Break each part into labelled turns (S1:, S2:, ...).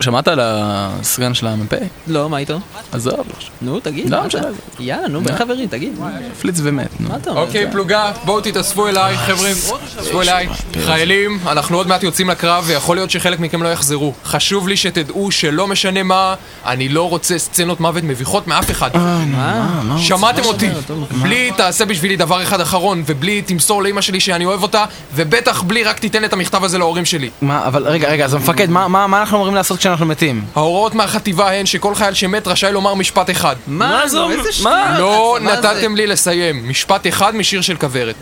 S1: שמעת על הסגן של המ"פ?
S2: לא, מה איתו?
S1: עזוב,
S2: נו, תגיד.
S1: לא
S2: מה
S1: משנה. לא.
S2: אתה- יאללה, נו, בין חברים, תגיד.
S1: פליץ ומת, נו.
S2: מה אתה אומר?
S3: אוקיי, פלוגה, בואו תתאספו אליי, חברים, תתאספו אליי. חיילים, אנחנו עוד מעט יוצאים לקרב, ויכול להיות שחלק מכם לא יחזרו. חשוב לי שתדעו שלא משנה מה, אני לא רוצה סצנות מוות מביכות מאף אחד.
S2: אה, מה?
S3: שמעתם אותי. בלי תעשה בשבילי דבר אחד אחרון, ובלי תמסור לאימא שלי שאני אוהב אותה, ובטח בלי רק תיתן את המכתב הזה להורים שלי.
S4: מה, אבל רגע, רגע, אז המפקד, מה- מה מה אנחנו אמורים לעשות כשאנחנו מתים?
S3: ההוראות מהחטיבה הן שכל חייל שמת רשאי לומר משפט אחד.
S2: מה
S1: זה
S2: זו?
S1: אומר?
S2: איזה
S1: מה?
S2: שטויות.
S3: לא
S2: מה זה?
S3: נתתם לי לסיים, משפט אחד משיר של כוורת.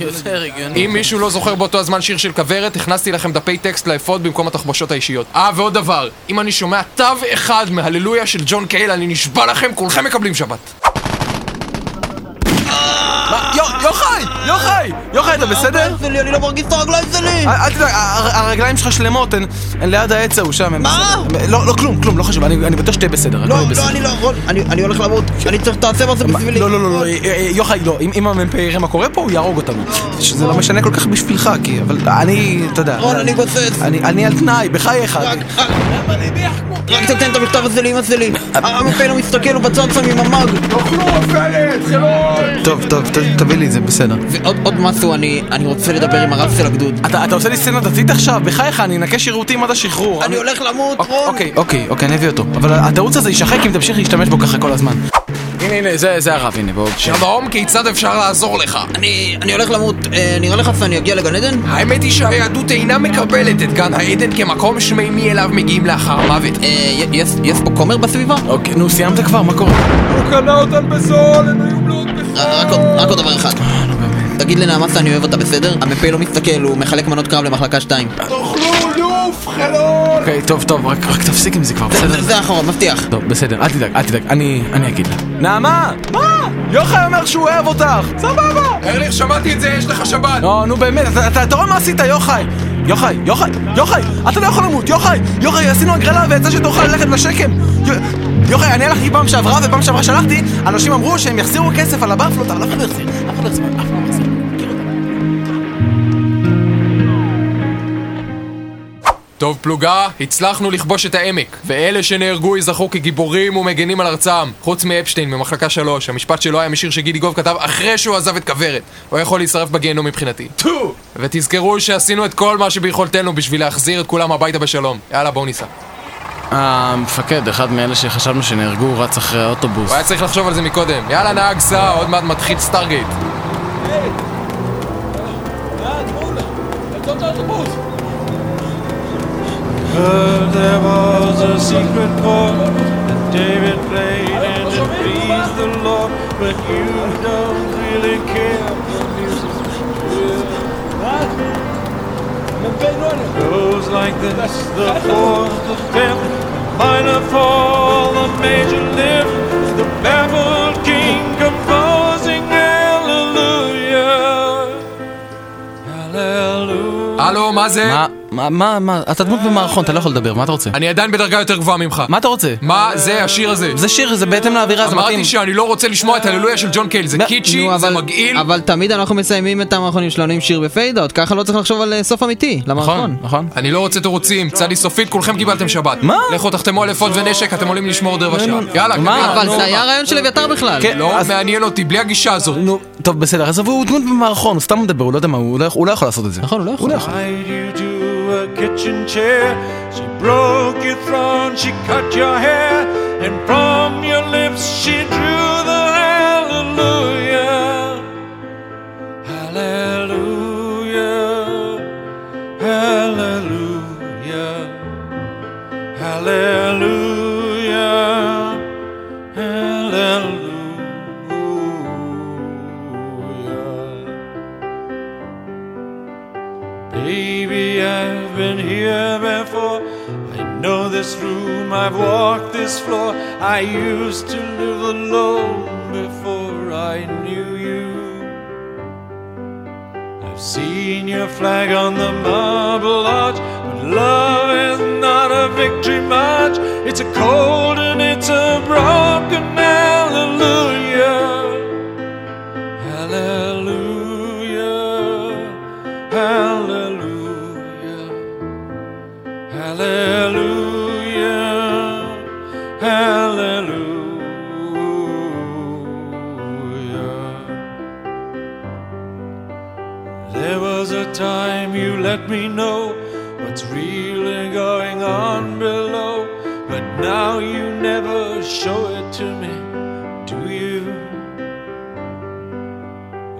S1: יותר הגיוני.
S3: אם מישהו לא זוכר באותו הזמן שיר של כוורת, הכנסתי לכם דפי טקסט לאפוד במקום התחבושות האישיות. אה, ועוד דבר, אם אני שומע תו אחד מהללויה של ג'ון קייל, אני נשבע לכם, כולכם מקבלים שבת.
S4: יוחאי! יוחאי! יוחאי, לא אתה בסדר? אה,
S5: שלי, אני לא מרגיש את הרגליים שלי!
S4: אל אל תדאג, הר- הרגליים שלך שלמות, הן הן ליד העץ ההוא שם. הן
S5: מה?
S4: בסדר. לא, לא, כלום, כלום, לא חשוב, אני אני בטוח שתהיה בסדר, הכל
S5: לא,
S4: בסדר. כן.
S5: לא, אני לא יכול, אני- אני הולך למות, אני צריך את הצבע הזה
S4: מה,
S5: בשבילי.
S4: לא, לא, לא, לא, אה, אה, יוחאי, לא, אם- אם המ"פ יראה מה קורה פה, הוא יהרוג אותנו. שזה לא משנה כל כך בשבילך, כי... אבל אני, אתה יודע...
S5: רון, אני גוסס.
S4: אני- אני על תנאי, בחייך.
S5: רק, רק, רק תתן את המכתב הזה לאמא שלי.
S4: אה.
S5: המפעיל מסתכל, הוא בצד שם עם המאג.
S4: טוב, טוב, ת- תביא לי את זה, בסדר.
S5: ועוד אוקיי, עוד משהו, אני אני רוצה לדבר עם הרב של הגדוד.
S4: אתה אתה עושה לי סצנה דתית עכשיו? בחייך, אני אנקה שירותים עד השחרור.
S5: אני הולך למות, רון!
S4: אוקיי, אוקיי, אוקיי, אני אביא אותו. אבל התירוץ הזה יישחק אם תמשיך להשתמש בו ככה כל הזמן. הנה, הנה, זה זה הרב, הנה, בואו.
S3: שלום, כיצד אפשר לעזור לך?
S5: אני אני הולך למות, אה, נראה לך שאני אגיע לגן עדן?
S3: האמת היא שהיהדות אינה מקבלת את גן העדן כמקום שמימי אליו מגיעים לאחר המוות.
S5: אה, י- יש יש פה כומר בסביבה?
S4: אוקיי, נו, סיימת כבר? מה קורה?
S5: רק רק עוד רק עוד דבר אחד.
S4: אה, לא,
S5: תגיד לנעמה שאני אוהב אותה, בסדר? המ"פ לא מסתכל, הוא מחלק מנות קרב למחלקה 2.
S4: אוקיי, טוב, טוב, רק רק תפסיק עם זה כבר, בסדר?
S5: זה האחרון, מבטיח.
S4: טוב, בסדר, אל תדאג, אל תדאג, אני אני אגיד לה. נעמה! מה? יוחאי אומר שהוא אוהב אותך! סבבה!
S3: ארליך, שמעתי את זה, יש לך שבת.
S4: לא, נו באמת, אתה- אתה אתה רואה מה עשית, יוחאי? יוחאי, יוחאי, יוחאי, אתה לא יכול למות, יוחאי, יוחאי, עשינו הגרלה ויצא שתוכל ללכת לשקם. י- יוחאי, אני הלכתי פעם שעברה, ופעם שעברה שלחתי, אנשים אמרו שהם יחזירו כסף על הבאפלות, אבל אף אחד לא יחזיר, אף אחד לא יחזיר, אף אחד לא יחזיר.
S3: טוב, פלוגה, הצלחנו לכבוש את העמק, ואלה שנהרגו ייזכרו כגיבורים ומגנים על ארצם. חוץ מאפשטיין ממחלקה 3, המשפט שלו היה משיר שגידי גוב כתב אחרי שהוא עזב את כוורת. הוא יכול להישרף בגיהנום מבחינתי. טו! ותזכרו שעשינו את כל מה שביכולתנו בשביל להחזיר את כולם הביתה בשלום. יאללה, בואו ניסע.
S1: המפקד, אחד מאלה שחשבנו שנהרגו, רץ אחרי האוטובוס.
S3: הוא היה צריך לחשוב על זה מקודם. יאללה, נהג סע, עוד מעט מתחיל סטארגייט.
S6: But there was a secret chord that David played and it pleased the Lord, but you don't really care for music. Goes like this: the fourth, the fifth, the minor fall, the major lift, the baffled king composing hallelujah, hallelujah.
S3: הלו, מה זה?
S4: מה, אה, מה, מה, מה, אתה דמות במערכון, אתה לא יכול לדבר, מה אתה רוצה?
S3: אני עדיין בדרגה יותר גבוהה ממך.
S4: מה אתה רוצה?
S3: מה זה השיר הזה?
S4: זה שיר, זה בהתאם לאווירה, זה מתאים.
S3: אמרתי שאני לא רוצה לשמוע את הללויה של ג'ון קייל, זה
S4: מה-
S3: קיצ'י,
S5: נו,
S3: זה
S5: אבל-
S3: מגעיל.
S5: אבל תמיד אנחנו מסיימים את המערכונים שלנו עם שיר בפיידאוט, ככה לא צריך לחשוב על אה, סוף אמיתי, למערכון.
S4: נכון.
S3: אני לא רוצה תירוצים, צדי סופית, כולכם קיבלתם שבת.
S4: מה?
S3: לכו תחתמו על אפוד ונשק, אתם עולים לשמור רבע שעה. יאללה, קדימה.
S5: אבל
S3: נו,
S5: זה היה הרעיון של אביתר בכלל.
S4: כן.
S3: לא
S4: אז-
S3: מעניין אותי, בלי הגישה הזאת.
S4: נו, טוב, בסדר, עזוב, הוא דמות במערכון, הוא סתם מדבר, הוא לא יודע מה, הוא לא יכול- הוא לא יכול לעשות את זה.
S5: נכון, הוא לא יכול.
S6: tied you to a kitchen chair. She broke your throne, she cut your hair, and from your lips she drew the hallelujah. Hallelujah. Hallelujah. Hallelujah. Hallelujah. Baby, I've been here before. I know this room, I've walked this floor. I used to live alone before I knew you. I've seen your flag on the marble arch, but love is not a victory march. It's a cold and it's a broken hallelujah. Hallelujah. Hallelujah. Hallelujah. Hallelujah. There was a time you let me know what's really going on below, but now you never show it to me, do you?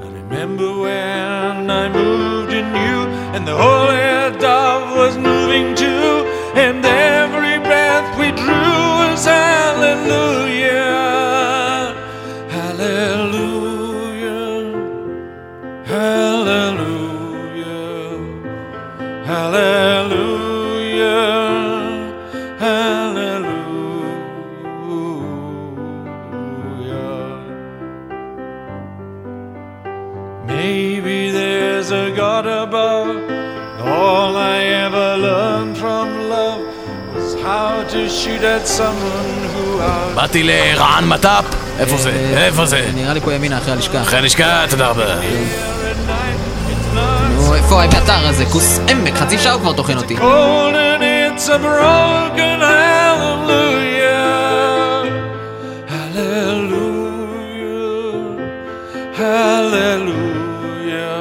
S6: I remember when I moved in you, and the holy dove was moving too, and every breath we drew was hallelujah, hallelujah, hallelujah, hallelujah, hallelujah. Maybe there's a God above. All I ever learned from love was how to shoot at someone who out.
S1: באתי לרען מט"פ? איפה זה? איפה זה?
S5: נראה לי פה ימינה אחרי הלשכה.
S4: כן.
S1: אחרי הלשכה, תודה רבה.
S6: Here at night, it's not
S5: נו, איפה האביתר הזה? כוס עמק, חצי שעה הוא כבר טוחן אותי.
S6: cold and it's a broken hallelujah. Hallelujah. Hallelujah.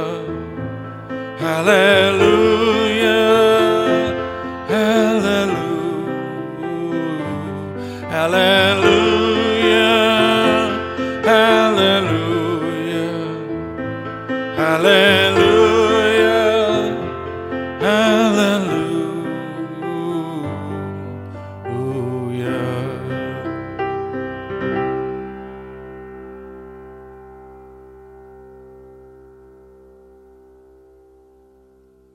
S6: Hallelujah. Hallelujah. Hallelujah. Hallelujah. Hallelujah. Hallelujah.